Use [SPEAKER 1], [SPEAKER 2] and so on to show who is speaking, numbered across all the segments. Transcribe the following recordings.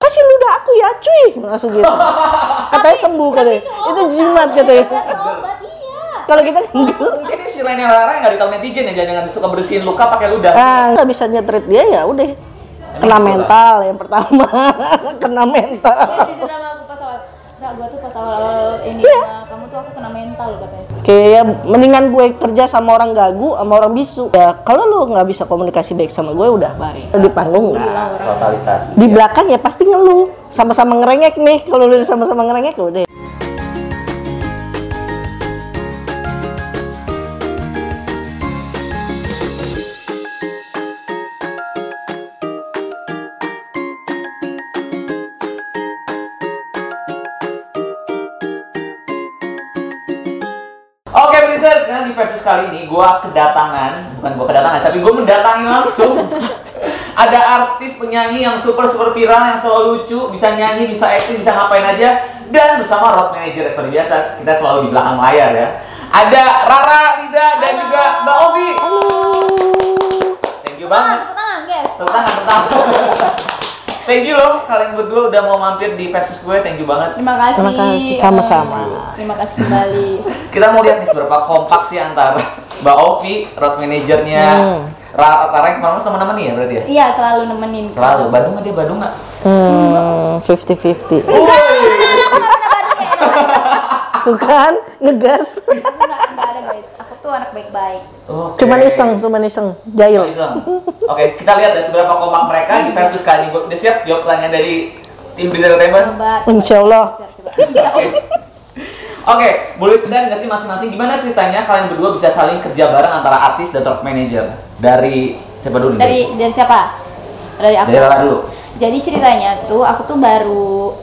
[SPEAKER 1] putih ya, langsung gitu. Katanya sembuh katanya. Itu jimat katanya.
[SPEAKER 2] Iya, Obat iya.
[SPEAKER 1] Kalau kita kan gitu. enggak.
[SPEAKER 3] Mungkin ini si Lene Lara yang nggak ditahu netizen ya, jangan suka bersihin luka pakai ludah.
[SPEAKER 1] Ah, nggak bisa nyetrit dia ya udah. Kena
[SPEAKER 3] betul,
[SPEAKER 1] mental yang pertama. Kena mental.
[SPEAKER 2] Dia jujur gitu sama aku pas awal. Rak gua tuh pas awal-awal ini
[SPEAKER 1] Iya.
[SPEAKER 2] uh, kamu tuh aku kena mental loh katanya.
[SPEAKER 1] Kayak ya, mendingan gue kerja sama orang gagu sama orang bisu. Ya kalau lu nggak bisa komunikasi baik sama gue udah baik. Di panggung
[SPEAKER 3] Iya.
[SPEAKER 1] nggak.
[SPEAKER 3] Totalitas.
[SPEAKER 1] Di belakang ya pasti ngeluh. Sama-sama ngerengek nih. Kalau lu sama-sama ngerengek ya udah.
[SPEAKER 3] Oke, Breezers, sekarang di versus kali ini gua kedatangan, bukan gua kedatangan, tapi gua mendatangi langsung. Ada artis penyanyi yang super super viral yang selalu lucu, bisa nyanyi, bisa acting, bisa ngapain aja dan bersama road manager seperti biasa kita selalu di belakang layar ya. Ada Rara, Lida dan juga Mbak Ovi. Halo. Thank you
[SPEAKER 2] Tangan,
[SPEAKER 3] banget.
[SPEAKER 2] tepuk tangan, guys.
[SPEAKER 3] Tepuk tangan, tepuk tangan. Thank you loh kalian berdua udah mau mampir di versus gue, thank you banget.
[SPEAKER 2] Terima kasih. Eh,
[SPEAKER 1] Terima kasih, sama-sama.
[SPEAKER 2] Terima kasih kembali.
[SPEAKER 3] kita mau lihat nih seberapa kompak sih antara Mbak Opi, road manajernya,
[SPEAKER 1] Hmm.
[SPEAKER 3] Ra- Rara yang kemarin teman-teman nih ya berarti ya?
[SPEAKER 2] Iya, selalu nemenin.
[SPEAKER 3] Selalu, Bandung nggak dia Bandung nggak?
[SPEAKER 1] Hmm, 50-50.
[SPEAKER 3] Wuih,
[SPEAKER 1] Tuh kan, ngegas.
[SPEAKER 2] Aku nggak nggak ada guys. Aku tuh anak baik-baik.
[SPEAKER 3] Oh, oke.
[SPEAKER 1] Cuman iseng, cuman iseng.
[SPEAKER 3] Cuman
[SPEAKER 1] Jahil.
[SPEAKER 3] iseng. Oke, kita lihat ya seberapa kompak mereka di versus kali ini. Gua- Udah siap jawab pertanyaan dari tim Blizzard Entertainment?
[SPEAKER 2] Coba. coba,
[SPEAKER 1] Insya Allah.
[SPEAKER 2] coba, coba.
[SPEAKER 3] Oke. Oke, boleh ceritain nggak sih masing-masing gimana ceritanya kalian berdua bisa saling kerja bareng antara artis dan road manager? Dari siapa dulu? nih?
[SPEAKER 2] Dari dari siapa? Dari aku.
[SPEAKER 3] dari Rara dulu.
[SPEAKER 2] Jadi ceritanya tuh aku tuh baru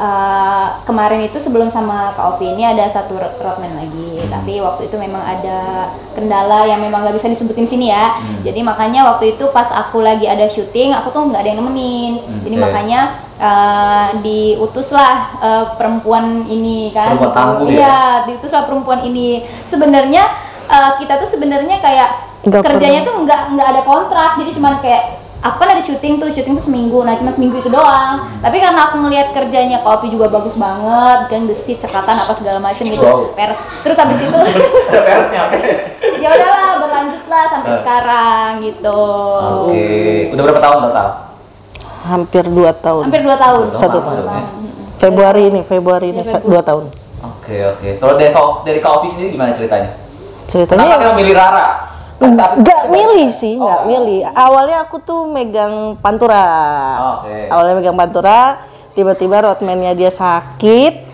[SPEAKER 2] uh, kemarin itu sebelum sama Kak Opi ini ada satu ro- roadman
[SPEAKER 3] Hmm.
[SPEAKER 2] lagi, tapi waktu itu memang ada kendala yang memang nggak bisa disebutin sini ya.
[SPEAKER 3] Hmm.
[SPEAKER 2] Jadi makanya waktu itu pas aku lagi ada syuting, aku tuh nggak ada yang nemenin. Jadi
[SPEAKER 3] Oke.
[SPEAKER 2] makanya uh, diutuslah uh, perempuan ini kan.
[SPEAKER 3] Perempuan tangguh ya?
[SPEAKER 2] Iya, diutuslah perempuan ini. Sebenarnya uh, kita tuh sebenarnya kayak
[SPEAKER 1] Nggak pernah.
[SPEAKER 2] kerjanya tuh nggak nggak ada kontrak jadi cuman kayak aku kan ada syuting tuh syuting tuh seminggu nah cuma seminggu itu doang tapi karena aku ngelihat kerjanya kopi juga bagus banget kan gesit cekatan apa segala macem gitu
[SPEAKER 3] Wow.
[SPEAKER 2] pers terus habis itu
[SPEAKER 3] Ada persnya, oke.
[SPEAKER 2] ya udahlah berlanjutlah sampai
[SPEAKER 3] Eh.
[SPEAKER 2] sekarang gitu
[SPEAKER 3] Oke, udah berapa tahun total?
[SPEAKER 1] Hampir 2 tahun.
[SPEAKER 2] hampir dua tahun
[SPEAKER 1] Satu
[SPEAKER 3] Lama
[SPEAKER 1] tahun.
[SPEAKER 3] dong ya.
[SPEAKER 1] Februari ini, Februari ini
[SPEAKER 2] Ya, Februari.
[SPEAKER 1] 2 tahun.
[SPEAKER 3] Oke oke. Kalau dari kau dari kau Ovi sendiri gimana ceritanya? Kenapa
[SPEAKER 1] Ceritanya
[SPEAKER 3] kita memilih Rara? Kan
[SPEAKER 1] nggak milih sih,
[SPEAKER 3] Oh.
[SPEAKER 1] nggak milih. Awalnya aku tuh megang pantura.
[SPEAKER 3] Oke.
[SPEAKER 1] Awalnya megang pantura, tiba-tiba roadman-nya dia sakit.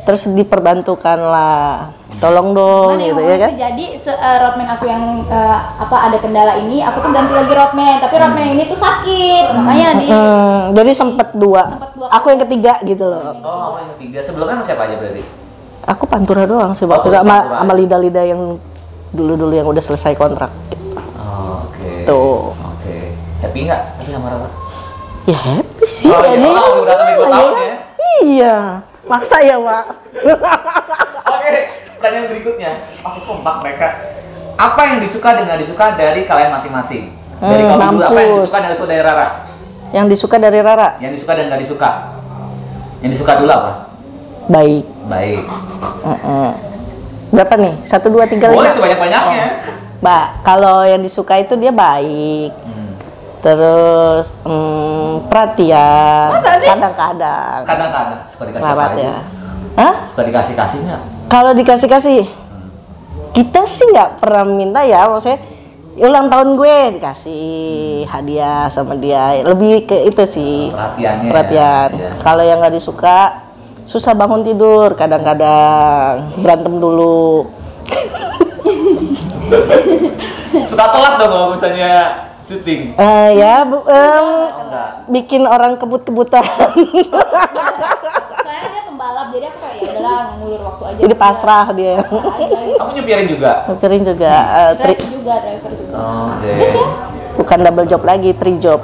[SPEAKER 1] Terus diperbantukan lah. Tolong dong
[SPEAKER 2] Mana yang
[SPEAKER 1] gitu ya
[SPEAKER 2] waktu
[SPEAKER 1] kan.
[SPEAKER 2] itu Jadi se- eh, roadman aku yang eh, apa ada kendala ini, aku tuh ganti lagi roadman. Tapi roadman yang ini tuh sakit, makanya di
[SPEAKER 1] Hmm, jadi sempet dua.
[SPEAKER 2] Sempet dua.
[SPEAKER 1] Aku yang ketiga gitu loh.
[SPEAKER 3] Oh, aku yang ketiga. Sebelumnya sama siapa aja berarti?
[SPEAKER 1] Aku pantura doang sih,
[SPEAKER 3] Oh,
[SPEAKER 1] waktu
[SPEAKER 3] terus
[SPEAKER 1] sama,
[SPEAKER 3] pantura.
[SPEAKER 1] sama lidah-lidah yang dulu-dulu yang udah selesai kontrak.
[SPEAKER 3] Oh, oke.
[SPEAKER 1] Tuh.
[SPEAKER 3] Oke. Happy nggak? Tapi sama Rara?
[SPEAKER 1] Ya happy sih.
[SPEAKER 3] Oh, iya,
[SPEAKER 1] ya,
[SPEAKER 3] orang
[SPEAKER 1] kan?
[SPEAKER 3] udah sampai dua
[SPEAKER 1] Iya,
[SPEAKER 3] tahun
[SPEAKER 1] kan?
[SPEAKER 3] ya.
[SPEAKER 1] Iya. Maksa ya, Mak.
[SPEAKER 3] Oke. Pertanyaan berikutnya. Aku kompak mereka. Apa yang disuka dan nggak disuka dari kalian masing-masing? Dari
[SPEAKER 1] Hmm,
[SPEAKER 3] kau dulu apa yang
[SPEAKER 1] mampus.
[SPEAKER 3] disuka dan nggak disuka dari Rara?
[SPEAKER 1] Yang disuka dari Rara,
[SPEAKER 3] Yang disuka dan nggak disuka? Yang disuka dulu apa?
[SPEAKER 1] baik.
[SPEAKER 3] Baik.
[SPEAKER 1] Mm-mm. Berapa nih? Satu, dua, tiga,
[SPEAKER 3] Boleh
[SPEAKER 1] lima.
[SPEAKER 3] sebanyak-banyaknya.
[SPEAKER 1] Oh. Mbak, kalau yang disuka itu dia baik.
[SPEAKER 3] Hmm.
[SPEAKER 1] Terus mm, perhatian.
[SPEAKER 2] Masa sih?
[SPEAKER 1] Kadang-kadang.
[SPEAKER 3] Kadang-kadang suka dikasih apa
[SPEAKER 1] Rawat
[SPEAKER 3] aja?
[SPEAKER 1] ya. Hah?
[SPEAKER 3] Suka dikasih-kasih nggak?
[SPEAKER 1] Kalau dikasih-kasih, kita sih nggak pernah minta ya, maksudnya ulang tahun gue dikasih hadiah sama dia, lebih ke itu sih
[SPEAKER 3] Perhatiannya ya.
[SPEAKER 1] perhatian.
[SPEAKER 3] Iya.
[SPEAKER 1] Kalau yang nggak disuka, susah bangun tidur, kadang-kadang berantem dulu.
[SPEAKER 3] suka telat dong kalau misalnya syuting
[SPEAKER 1] Eh, ya, bu- em,
[SPEAKER 3] Oh, enggak
[SPEAKER 1] bikin orang kebut-kebutan,
[SPEAKER 2] Soalnya dia pembalap, jadi aku kayak ya udahlah ngulur waktu aja.
[SPEAKER 1] jadi pasrah dia.
[SPEAKER 2] Pasrah aja gitu.
[SPEAKER 3] kamu nyupirin juga
[SPEAKER 1] Piring juga, eh, tri-
[SPEAKER 2] Driver juga, driver juga.
[SPEAKER 3] oke
[SPEAKER 1] Iya bukan double job lagi, tri job.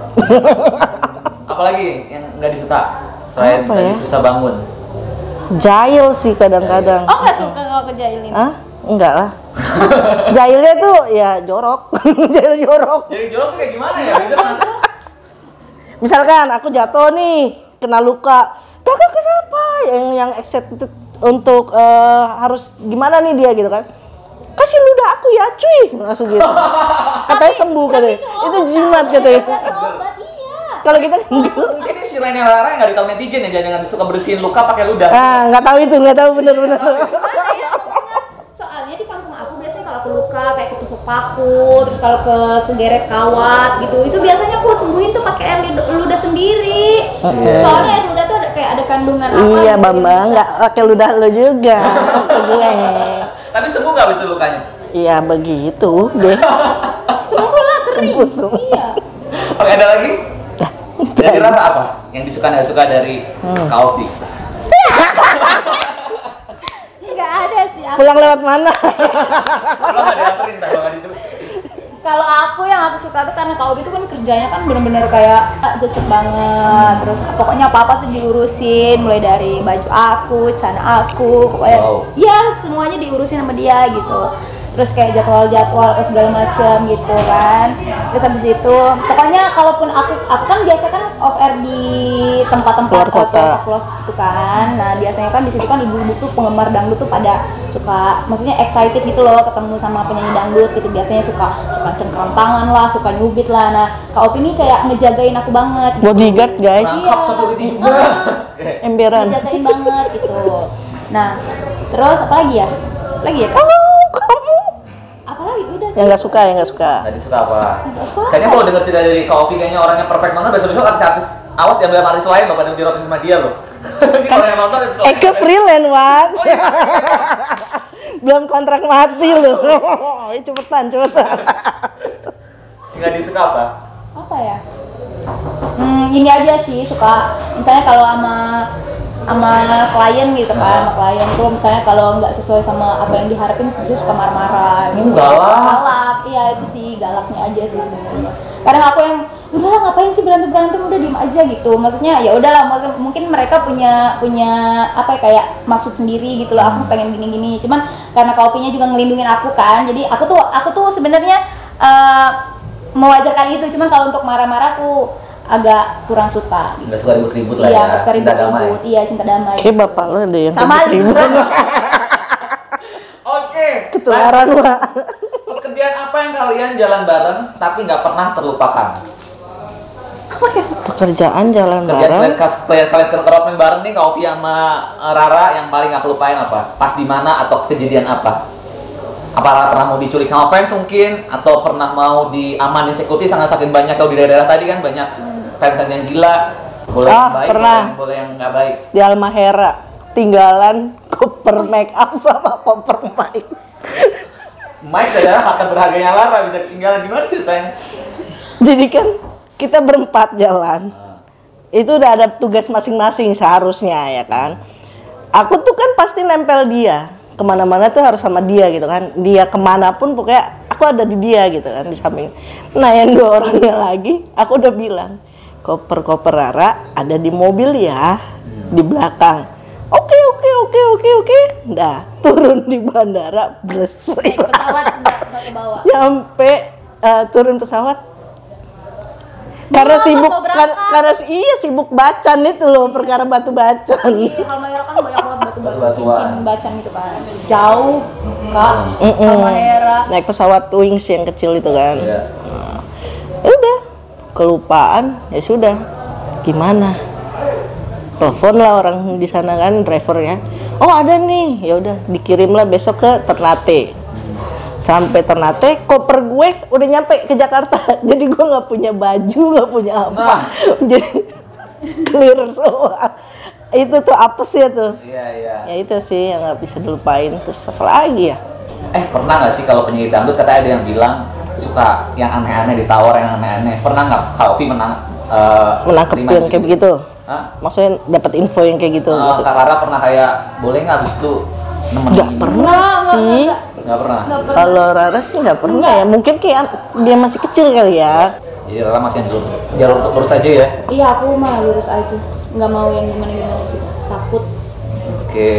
[SPEAKER 3] apalagi yang nggak disuka selain
[SPEAKER 1] Apa ya?
[SPEAKER 3] tadi susah bangun
[SPEAKER 1] Jail sih kadang-kadang.
[SPEAKER 2] Oh nggak suka kalau kejailin.
[SPEAKER 1] Hah? Enggak lah. Jahilnya tuh ya jorok. Jahil jorok.
[SPEAKER 3] kan jadi jorok tuh kayak gimana ya bisa masuk
[SPEAKER 1] Misalkan aku jatuh nih, kena luka kakak kenapa yang yang excited untuk eh, harus gimana nih dia gitu kan kasih ludah aku ya cuy langsung gitu katanya sembuh katanya
[SPEAKER 2] Iya, oh,
[SPEAKER 1] itu jimat katanya
[SPEAKER 2] Obat iya.
[SPEAKER 1] kalau kita kan enggak.
[SPEAKER 3] Mungkin ini si Rene Lara yang nggak ditahu netizen ya, jangan suka bersihin luka pakai ludah.
[SPEAKER 1] ah nggak tahu itu nggak tahu bener-bener
[SPEAKER 2] Mana ya satunya? Soalnya di kampung aku biasanya kalau aku luka kayak ketusuk paku, terus kalau ke kegeret kawat gitu, itu biasanya aku sembuhin tuh pakai air lid- ludah sendiri. Soalnya air ludah tuh ada kayak ada kandungan apa?
[SPEAKER 1] iya
[SPEAKER 2] gitu yang
[SPEAKER 1] bambang
[SPEAKER 2] bisa-
[SPEAKER 1] nggak pakai ludah lo juga Itu gue
[SPEAKER 3] Tapi sembuh nggak abis itu lukanya?
[SPEAKER 1] iya begitu deh
[SPEAKER 2] Sembuh lah kering.
[SPEAKER 1] Busung.
[SPEAKER 2] Iya.
[SPEAKER 3] Oke, ada lagi?
[SPEAKER 1] Ya,
[SPEAKER 3] Dari Rara apa? Yang disuka nggak suka dari
[SPEAKER 1] Hmm.
[SPEAKER 3] Kaofi?
[SPEAKER 2] Enggak ada sih. Aku-
[SPEAKER 1] pulang lewat mana
[SPEAKER 3] Lo nggak diaturin tadi waktu itu.
[SPEAKER 2] Kalau aku yang aku suka tuh karena Kak Obi tuh kan kerjanya kan bener-bener kayak ah, gesek banget. Terus ah, pokoknya apa-apa tuh diurusin mulai dari baju aku, celana aku, pokoknya
[SPEAKER 3] Wow.
[SPEAKER 2] ya semuanya diurusin sama dia gitu. Terus kayak jadwal-jadwal apa segala macem gitu kan. Terus habis itu pokoknya kalaupun aku aku kan biasa kan off air di
[SPEAKER 1] Luar
[SPEAKER 2] tempat-tempat
[SPEAKER 1] kota.
[SPEAKER 2] hotel, plus itu kan nah biasanya kan di situ kan ibu-ibu tuh penggemar dangdut tuh pada suka maksudnya excited gitu loh ketemu sama penyanyi dangdut gitu biasanya suka suka cengkram tangan lah suka nyubit lah nah kak Opi ini kayak ngejagain aku banget gitu.
[SPEAKER 1] bodyguard guys
[SPEAKER 3] Rangkap sama begitu juga. Oke.
[SPEAKER 1] emberan
[SPEAKER 2] ngejagain banget gitu nah terus apa lagi ya Apa lagi ya kak
[SPEAKER 1] kamu
[SPEAKER 2] apa lagi udah sih
[SPEAKER 1] yang nggak suka yang nggak suka
[SPEAKER 3] Tadi suka apa? Kayaknya kalau denger cerita dari Kaofi kayaknya orang yang perfect banget besok-besok artis-artis awas diambil sama artis lain loh pada dirotin sama dia loh. Jadi kalau yang nonton itu
[SPEAKER 1] Eke freelance Wan belum kontrak mati loh Ayo cepetan cepetan
[SPEAKER 3] nggak disuka apa?
[SPEAKER 2] apa ya hmm, ini aja sih suka misalnya kalau sama sama klien gitu kan sama klien tuh misalnya kalau nggak sesuai sama apa yang diharapin dia suka marah-marah gitu
[SPEAKER 3] Hmm, galak.
[SPEAKER 2] galak iya itu sih galaknya aja sih sebenarnya kadang aku yang udah lah ngapain sih berantem berantem udah diem aja gitu maksudnya ya udahlah maksud- mungkin mereka punya punya apa ya kayak maksud sendiri gitu loh aku pengen gini gini cuman karena kopinya juga ngelindungin aku kan jadi aku tuh aku tuh sebenarnya eh, mewajarkan itu cuman kalau untuk marah-marah aku agak kurang suka gitu.
[SPEAKER 3] Nggak suka ribut-ribut lah ya.
[SPEAKER 2] Iya, suka
[SPEAKER 3] cinta damai.
[SPEAKER 2] ribut-ribut. Iya, cinta damai.
[SPEAKER 1] Oke bapak lo ada yang
[SPEAKER 2] Sama
[SPEAKER 1] ribut-ribut.
[SPEAKER 3] Oke.
[SPEAKER 1] ketularan Wan
[SPEAKER 3] Pekerjaan apa yang kalian jalan bareng tapi nggak pernah terlupakan?
[SPEAKER 1] pekerjaan jalan
[SPEAKER 3] Kerjaan
[SPEAKER 1] bareng
[SPEAKER 3] kalian kas- kalian kalian kerjain bareng nih Kaofi sama eh, Rara yang paling nggak lupain apa? Pas di mana atau kejadian apa? Apa Rara pernah mau diculik sama fans mungkin atau pernah mau diamanin security sangat saking banyak kalau di daerah tadi kan banyak fans yang gila. Boleh
[SPEAKER 1] Ah,
[SPEAKER 3] yang baik,
[SPEAKER 1] pernah.
[SPEAKER 3] boleh yang- boleh yang nggak baik.
[SPEAKER 1] di Almahera ketinggalan koper make up sama koper mic
[SPEAKER 3] Mike saudara harta berharganya Lara bisa ketinggalan gimana ceritanya?
[SPEAKER 1] jadi kan kita berempat jalan itu udah ada tugas masing-masing seharusnya ya kan aku tuh kan pasti nempel dia kemana-mana tuh harus sama dia gitu kan dia kemanapun pokoknya aku ada di dia gitu kan di samping nah yang dua orangnya lagi aku udah bilang koper-koper Rara ada di mobil ya di belakang oke oke oke oke oke nah turun di bandara
[SPEAKER 2] Naik
[SPEAKER 1] bersih
[SPEAKER 2] pesawat nggak nggak ke bawah.
[SPEAKER 1] nyampe Ya eh, turun pesawat karena
[SPEAKER 2] Belum,
[SPEAKER 1] sibuk
[SPEAKER 2] mau berangkat.
[SPEAKER 1] kar- karena si- iya sibuk bacan itu loh perkara batu bacan
[SPEAKER 2] Iya, Halmahera kan banyak banget batu-batu
[SPEAKER 3] Batu-batuan.
[SPEAKER 2] cincin bacan gitu kan. Jauh, Kak. Halmahera.
[SPEAKER 1] naik pesawat wings yang kecil itu kan
[SPEAKER 3] Iya.
[SPEAKER 1] Ya udah kelupaan ya sudah gimana telepon lah orang di sana kan drivernya oh ada nih ya udah dikirimlah besok ke Ternate sampai Ternate koper gue udah nyampe ke Jakarta jadi gue nggak punya baju nggak punya apa
[SPEAKER 3] Nah.
[SPEAKER 1] jadi clear semua itu tuh apa sih tuh
[SPEAKER 3] Iya iya.
[SPEAKER 1] ya itu sih yang nggak bisa dilupain terus apa lagi ya
[SPEAKER 3] Eh pernah nggak sih kalau penyanyi dangdut katanya ada yang bilang suka yang aneh-aneh ditawar yang aneh-aneh. Pernah nggak Kak Ovi menang? eh,
[SPEAKER 1] menangkap
[SPEAKER 3] terima
[SPEAKER 1] yang
[SPEAKER 3] gitu?
[SPEAKER 1] kayak begitu
[SPEAKER 3] Hah?
[SPEAKER 1] maksudnya dapat info yang kayak gitu
[SPEAKER 3] Eh,
[SPEAKER 1] maksud-
[SPEAKER 3] Kak Rara pernah kayak boleh nggak abis itu nemenin?
[SPEAKER 1] Nggak pernah
[SPEAKER 2] Nggak, nggak,
[SPEAKER 1] sih.
[SPEAKER 2] nggak.
[SPEAKER 3] Nggak pernah.
[SPEAKER 2] Nggak pernah.
[SPEAKER 1] Kalau Rara sih nggak pernah ya. Mungkin kayak dia masih kecil kali ya.
[SPEAKER 3] Jadi Rara masih yang lurus, jalur lurus aja ya.
[SPEAKER 2] Iya, aku mah lurus aja. Nggak mau yang gimana-gimana gitu. Takut.
[SPEAKER 3] Oke.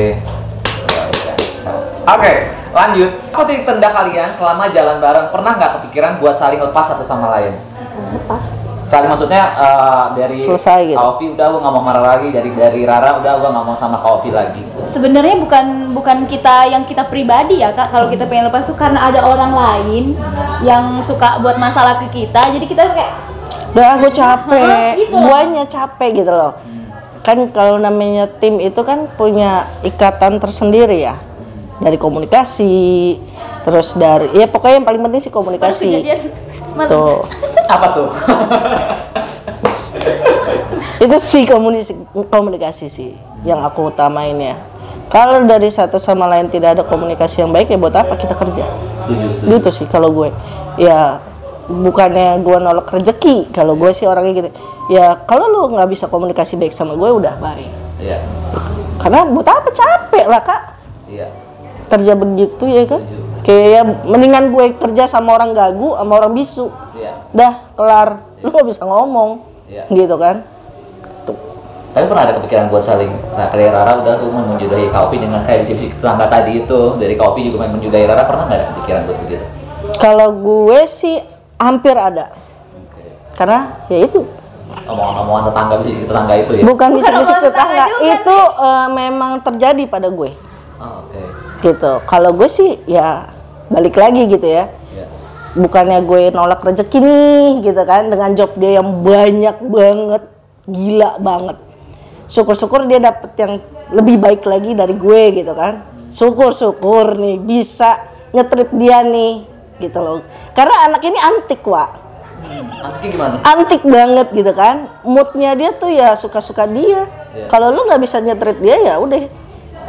[SPEAKER 3] Oke, lanjut. Apa titik tenda kalian selama jalan bareng? Pernah nggak kepikiran buat saling lepas satu sama lain?
[SPEAKER 2] Salah lepas.
[SPEAKER 3] saling maksudnya eh, dari
[SPEAKER 1] Selesai gitu.
[SPEAKER 3] Kak Ovi, udah gue nggak mau marah lagi dari dari Rara udah gue nggak mau sama Kak Ovi lagi
[SPEAKER 2] Sebenarnya bukan bukan kita yang kita pribadi ya kak. Kalau kita pengen lepas tuh karena ada orang lain yang suka buat masalah ke kita. Jadi kita kayak
[SPEAKER 1] udah aku capek
[SPEAKER 2] Hah, gitu loh.
[SPEAKER 1] guanya capek gitu loh kan kalau namanya tim itu kan punya ikatan tersendiri ya dari komunikasi terus dari ya pokoknya yang paling penting Iya sih
[SPEAKER 2] pas
[SPEAKER 1] komunikasi
[SPEAKER 2] kejadian semalam.
[SPEAKER 1] tuh
[SPEAKER 3] apa tuh
[SPEAKER 1] itu sih komunikasi komunikasi sih yang aku utamain ya kalau dari satu sama lain tidak ada komunikasi yang baik ya buat apa kita kerja
[SPEAKER 3] setuju setuju
[SPEAKER 1] gitu sih kalau gue ya bukannya gue nolak rezeki kalau gue sih orangnya gitu ya kalau lu nggak bisa komunikasi baik sama gue udah baik
[SPEAKER 3] iya
[SPEAKER 1] karena buat apa capek lah kak
[SPEAKER 3] iya
[SPEAKER 1] kerja begitu ya kan kayak ya, mendingan gue kerja sama orang gagu sama orang bisu
[SPEAKER 3] iya
[SPEAKER 1] dah kelar lu nggak bisa ngomong
[SPEAKER 3] Iya.
[SPEAKER 1] gitu kan
[SPEAKER 3] tapi pernah ada kepikiran buat saling nah, dari Rara udah tuh menjudahi Kak Ovi dengan kayak bisik-bisik tetangga tadi itu dari Kak Ovi juga main menjudahi Rara pernah nggak ada kepikiran buat begitu
[SPEAKER 1] kalau gue sih hampir ada
[SPEAKER 3] Oke.
[SPEAKER 1] karena ya itu
[SPEAKER 3] omongan-omongan tetangga bisik tetangga itu ya
[SPEAKER 1] bukan bisik-bisik
[SPEAKER 2] orang tetangga
[SPEAKER 1] tetangga
[SPEAKER 2] juga
[SPEAKER 1] itu eh, memang terjadi pada gue
[SPEAKER 3] Oh, oke
[SPEAKER 1] gitu kalau gue sih ya balik lagi gitu ya
[SPEAKER 3] Iya.
[SPEAKER 1] bukannya gue nolak rezeki nih gitu kan dengan job dia yang banyak banget gila banget syukur-syukur dia dapet yang lebih baik lagi dari gue gitu kan syukur-syukur nih bisa nyetrit dia nih gitu loh karena anak ini antik wa
[SPEAKER 3] Antiknya gimana
[SPEAKER 1] antik banget gitu kan moodnya dia tuh ya suka-suka dia
[SPEAKER 3] Iya.
[SPEAKER 1] kalau lu nggak bisa nyetrit dia ya udah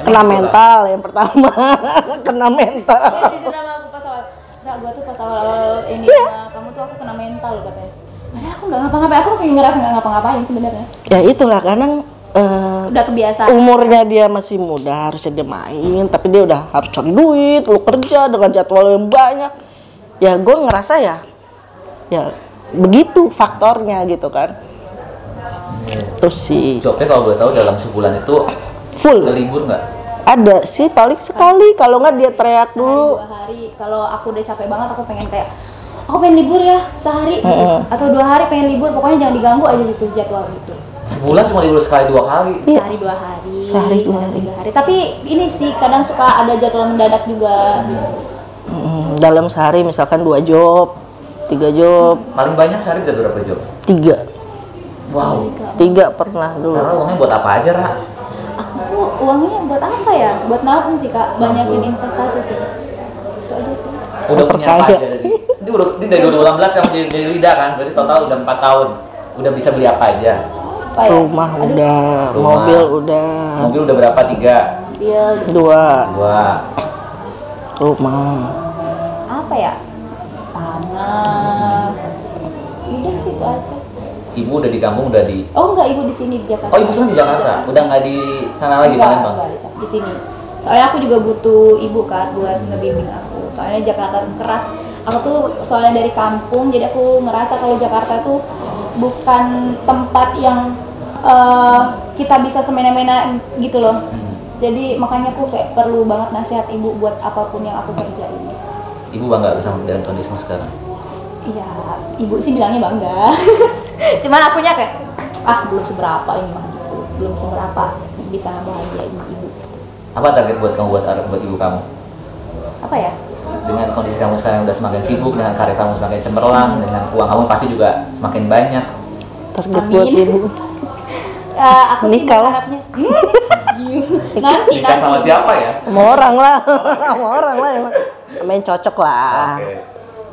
[SPEAKER 1] kena
[SPEAKER 3] gitu, Ra?
[SPEAKER 1] mental yang pertama kena mental
[SPEAKER 2] Dia jujur sama aku pas awal. Ra, gua tuh pas awal-awal ini
[SPEAKER 1] Iya.
[SPEAKER 2] sama kamu tuh aku kena mental loh katanya. Padahal aku nggak ngapa-ngapain. Aku kayak ngerasa nggak ngapa-ngapain sebenarnya.
[SPEAKER 1] ya itulah kadang eh,
[SPEAKER 2] Udah kebiasaan.
[SPEAKER 1] umurnya dia masih muda harusnya dia main tapi dia udah harus cari duit lu kerja dengan jadwal yang banyak ya gue ngerasa ya ya begitu faktornya gitu kan
[SPEAKER 3] Iya.
[SPEAKER 1] tuh sih
[SPEAKER 3] Jobnya kalau boleh tahu dalam sebulan itu
[SPEAKER 1] full
[SPEAKER 3] libur nggak?
[SPEAKER 1] ada sih paling sekali kalau nggak dia teriak
[SPEAKER 2] sehari
[SPEAKER 1] dulu
[SPEAKER 2] dua hari kalau aku udah capek banget aku pengen kayak aku pengen libur ya sehari gitu.
[SPEAKER 1] Mm-mm.
[SPEAKER 2] atau dua hari pengen libur pokoknya jangan diganggu aja gitu jadwal gitu
[SPEAKER 3] Sebulan cuma libur sekali dua kali.
[SPEAKER 1] Iya.
[SPEAKER 2] sehari dua hari
[SPEAKER 1] Sehari dua
[SPEAKER 2] kadang
[SPEAKER 1] hari.
[SPEAKER 2] tiga hari tapi ini sih kadang suka ada jadwal mendadak juga
[SPEAKER 1] Mm, dalam sehari misalkan dua job tiga job
[SPEAKER 3] Paling banyak sehari ada berapa job?
[SPEAKER 1] tiga
[SPEAKER 3] Wow.
[SPEAKER 1] tiga pernah dulu
[SPEAKER 3] Karena uangnya buat apa aja, Ra?
[SPEAKER 2] aku uangnya buat apa ya buat nabung sih kak banyakin investasi sih itu aja sih
[SPEAKER 3] Udah punya apa
[SPEAKER 1] Perkaya.
[SPEAKER 3] aja dari? Ini, udah, ini dari 2018 kamu jadi dari lidah kan? Berarti total udah 4 tahun. Udah bisa beli apa aja?
[SPEAKER 2] apa ya
[SPEAKER 1] rumah udah
[SPEAKER 3] Rumah.
[SPEAKER 1] mobil udah
[SPEAKER 3] Mobil udah berapa? Tiga?
[SPEAKER 2] deal
[SPEAKER 1] dua
[SPEAKER 3] Dua.
[SPEAKER 1] rumah
[SPEAKER 2] apa ya tanah udah sih itu aja
[SPEAKER 3] Ibu udah di kampung, udah di...
[SPEAKER 2] oh enggak ibu di sini di Jakarta
[SPEAKER 3] Oh, ibu sekarang di Jakarta? Udah nggak di sana lagi,
[SPEAKER 2] Enggak,
[SPEAKER 3] Palembang?
[SPEAKER 2] enggak, di sini. Soalnya aku juga butuh ibu kan buat ngebimbing aku. Soalnya Jakarta tuh keras. Aku tuh soalnya dari kampung, jadi aku ngerasa kalau Jakarta tuh bukan tempat yang eh, kita bisa semena-mena gitu loh.
[SPEAKER 3] Hmm.
[SPEAKER 2] Jadi makanya aku kayak perlu banget nasihat ibu buat apapun yang aku kerjain.
[SPEAKER 3] Ibu bangga sama dengan kondisi kamu sekarang?
[SPEAKER 2] Iya, ibu sih bilangnya bangga. Cuman akunya kayak ah belum seberapa ini mah gitu. Belum seberapa bisa bahagiain ibu.
[SPEAKER 3] Apa target buat kamu, buat, buat ibu kamu?
[SPEAKER 2] Apa ya?
[SPEAKER 3] dengan kondisi kamu sekarang udah semakin sibuk dengan karir kamu semakin cemerlang dengan uang kamu pasti juga semakin banyak
[SPEAKER 1] target
[SPEAKER 2] Amin.
[SPEAKER 1] buat ibu
[SPEAKER 2] Eh, aku sih
[SPEAKER 1] Nikah lah.
[SPEAKER 2] berharapnya Hmm, nanti
[SPEAKER 3] nikah
[SPEAKER 2] nanti.
[SPEAKER 3] sama siapa ya
[SPEAKER 1] sama orang lah sama orang lah emang sama yang cocok lah
[SPEAKER 3] oke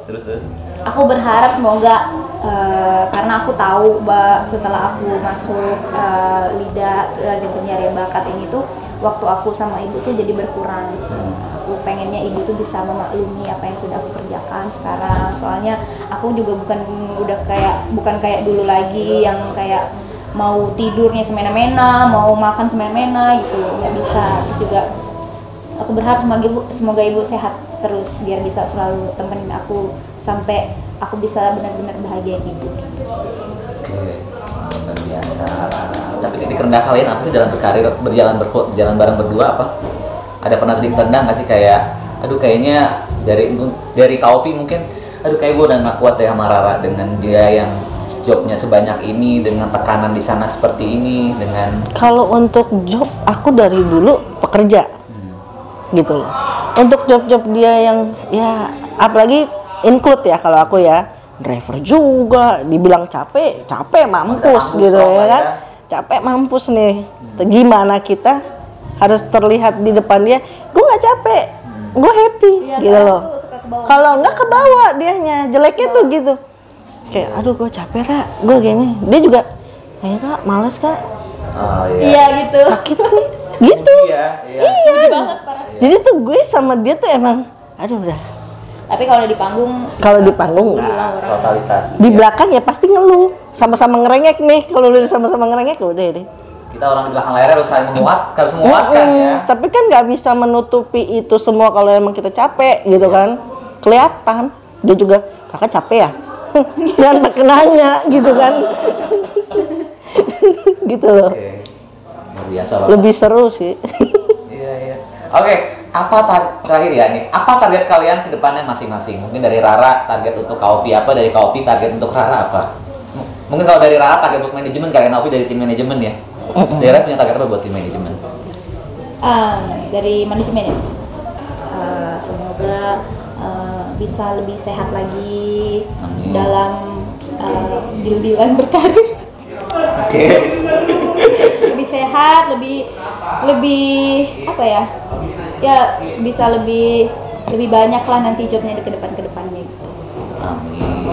[SPEAKER 3] terus terus
[SPEAKER 2] aku berharap semoga eh, karena aku tahu bah, setelah aku masuk eh, lidah lagi pencarian bakat ini tuh waktu aku sama ibu tuh jadi berkurang
[SPEAKER 3] Hmm.
[SPEAKER 2] aku pengennya ibu tuh bisa memaklumi apa yang sudah aku kerjakan sekarang soalnya aku juga bukan udah kayak bukan kayak dulu lagi yang kayak mau tidurnya semena-mena mau makan semena-mena gitu nggak bisa terus juga aku berharap semoga ibu semoga ibu sehat terus biar bisa selalu temenin aku sampai aku bisa benar-benar gitu. bahagiain ibu
[SPEAKER 3] oke luar biasa tapi titik rendah kalian apa sih dalam berkarir berjalan berko- berjalan bareng berdua apa ada pernah titik rendah nggak sih kayak aduh kayaknya dari dari Kaupi mungkin aduh kayak gue udah nggak kuat ya sama Rara dengan dia yang jobnya sebanyak ini dengan tekanan di sana seperti ini dengan
[SPEAKER 1] Kalau untuk job, aku dari dulu pekerja, gitu loh. Untuk job-job dia yang ya apalagi include ya kalau aku ya driver juga, dibilang capek, capek mampus
[SPEAKER 3] mampus
[SPEAKER 1] gitu
[SPEAKER 3] dong
[SPEAKER 1] ya
[SPEAKER 3] lah
[SPEAKER 1] kan,
[SPEAKER 3] ya.
[SPEAKER 1] capek mampus nih. Gimana kita harus terlihat di depan dia, gue nggak capek, gue happy
[SPEAKER 2] Iya,
[SPEAKER 1] gitu
[SPEAKER 2] kadang
[SPEAKER 1] loh.
[SPEAKER 2] tuh suka Iya. kebawa.
[SPEAKER 1] Kalau nggak kebawa dianya, jeleknya tuh gitu. Kayak aduh gue capek ra, gue gini. Dia juga, kayaknya kak males kak,
[SPEAKER 3] oh,
[SPEAKER 2] Iya gitu.
[SPEAKER 1] sakit nih gitu
[SPEAKER 3] iya iya
[SPEAKER 1] iya jadi tuh gue sama dia tuh emang aduh udah
[SPEAKER 2] Tapi kalau di panggung
[SPEAKER 1] kalau di panggung
[SPEAKER 2] gila
[SPEAKER 3] Iya.
[SPEAKER 1] nggak
[SPEAKER 2] orang.
[SPEAKER 3] totalitas
[SPEAKER 1] di
[SPEAKER 3] Iya.
[SPEAKER 1] belakang ya pasti ngeluh sama-sama ngerengek nih kalau udah sama-sama ngerengek ya udah deh
[SPEAKER 3] kita orang di belakang layar harus saling menguatkan harus menguatkan
[SPEAKER 1] Mm-mm.
[SPEAKER 3] ya
[SPEAKER 1] tapi kan nggak bisa menutupi itu semua kalau emang kita capek gitu
[SPEAKER 3] Iya.
[SPEAKER 1] kan kelihatan dia juga kakak capek ya jangan pakai nanya gitu kan gitu loh
[SPEAKER 3] oke luar biasa banget
[SPEAKER 1] lebih seru sih
[SPEAKER 3] Iya iya. Oke, apa tar- terakhir ya nih? Apa target kalian ke depannya masing-masing? Mungkin dari Rara target untuk Kaopi apa? Dari Kaopi target untuk Rara apa? M- Mungkin kalau dari Rara target untuk manajemen kalian Kaopi dari tim manajemen ya. Dari Rara punya target apa buat tim manajemen?
[SPEAKER 2] Ah, dari manajemen ya. Ah, semoga ah, bisa lebih sehat lagi
[SPEAKER 3] Amin.
[SPEAKER 2] dalam ah, deal-dealan berkarir.
[SPEAKER 3] Oke.
[SPEAKER 2] lebih sehat, lebih lebih apa ya? Ya bisa lebih lebih banyak lah nanti jobnya di ke depan ke depannya. gitu.
[SPEAKER 3] Amin.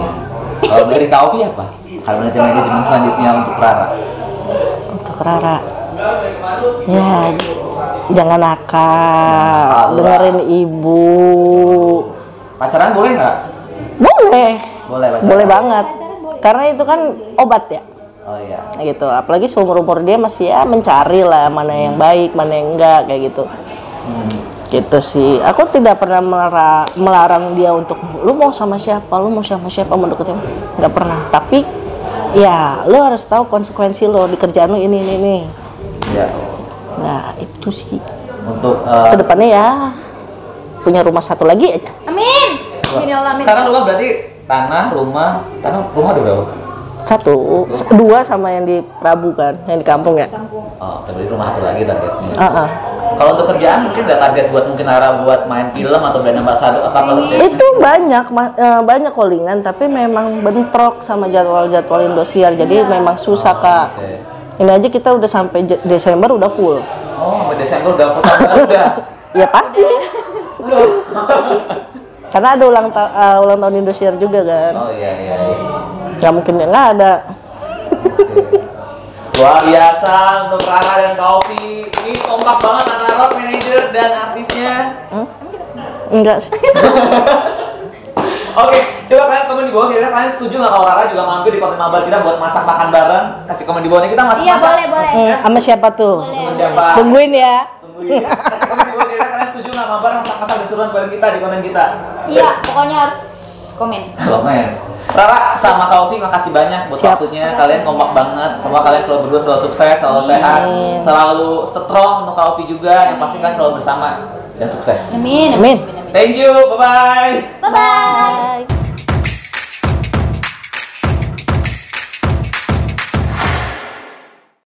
[SPEAKER 3] Kalau dari Kaopi apa? Kalau dari tim manajemen selanjutnya untuk Rara.
[SPEAKER 1] untuk Rara ya jangan nakal
[SPEAKER 3] Nakal.
[SPEAKER 1] dengerin ibu
[SPEAKER 3] Pacaran boleh nggak?
[SPEAKER 1] boleh
[SPEAKER 3] Boleh pacaran.
[SPEAKER 1] boleh banget
[SPEAKER 2] Pacaran boleh.
[SPEAKER 1] karena itu kan obat ya
[SPEAKER 3] Oh iya.
[SPEAKER 1] gitu apalagi seumur umur dia masih ya mencari lah mana yang baik mana yang enggak kayak gitu
[SPEAKER 3] Hmm.
[SPEAKER 1] gitu sih aku tidak pernah melara- melarang dia untuk lu mau sama siapa lu mau sama siapa mau deket siapa nggak pernah tapi ya lu harus tahu konsekuensi lo di kerjaan lu ini ini ini
[SPEAKER 3] Iya.
[SPEAKER 1] nah itu sih
[SPEAKER 3] Untuk eh,
[SPEAKER 1] kedepannya ya punya rumah satu lagi aja
[SPEAKER 2] Amin. Amin ya Allah, amin.
[SPEAKER 3] sekarang rumah berarti tanah, rumah, tanah, rumah ada berapa?
[SPEAKER 1] satu s- dua sama yang di Prabu kan yang di kampung ya
[SPEAKER 2] Kampung.
[SPEAKER 3] Oh, tapi rumah satu lagi targetnya.
[SPEAKER 1] Heeh.
[SPEAKER 3] Kalau untuk kerjaan mungkin ada target buat mungkin arah buat main film atau brand ambassador atau apa
[SPEAKER 2] Iya.
[SPEAKER 3] lebih?
[SPEAKER 1] itu banyak ma- eh, banyak callingan tapi memang bentrok sama jadwal-jadwal Indosiar jadi memang susah kak
[SPEAKER 3] Oke.
[SPEAKER 1] ini aja kita udah sampai Je- Desember udah full
[SPEAKER 3] Oh, sampai Desember udah foto udah.
[SPEAKER 1] ya pasti karena ada ulang ta- eh, ulang tahun Indosiar juga kan
[SPEAKER 3] Oh iya iya. iya.
[SPEAKER 1] nggak mungkin ya nggak ada
[SPEAKER 3] Oke. Luar biasa untuk Rara dan Taufik. Ini kompak banget antara rock manager dan artisnya.
[SPEAKER 1] enggak sih
[SPEAKER 3] Oke, coba kalian komen di bawah kira-kira kalian setuju nggak kalau Rara juga mampir di konten mabar kita buat masak makan bareng? Kasih komen di bawahnya kita masak
[SPEAKER 2] Iya
[SPEAKER 3] masak.
[SPEAKER 2] boleh boleh.
[SPEAKER 1] Eh, sama siapa tuh
[SPEAKER 3] Sama siapa?
[SPEAKER 1] tungguin ya
[SPEAKER 3] Tungguin. Kasih komen di bawah kira-kira kalian setuju nggak mabar masak-masak dan seruan bareng kita di konten kita.
[SPEAKER 2] Iya pokoknya harus komen.
[SPEAKER 3] Sloman. Rara sama Kaufi makasih banyak buat
[SPEAKER 1] Siap.
[SPEAKER 3] waktunya. Kalian kompak banget. Semoga kalian selalu berdua selalu sukses, selalu sehat, selalu strong untuk Kaufi juga. Yang pasti kalian selalu bersama dan sukses.
[SPEAKER 2] Amin.
[SPEAKER 1] Amin.
[SPEAKER 2] amin.
[SPEAKER 3] Thank you. Bye bye.
[SPEAKER 2] Bye bye.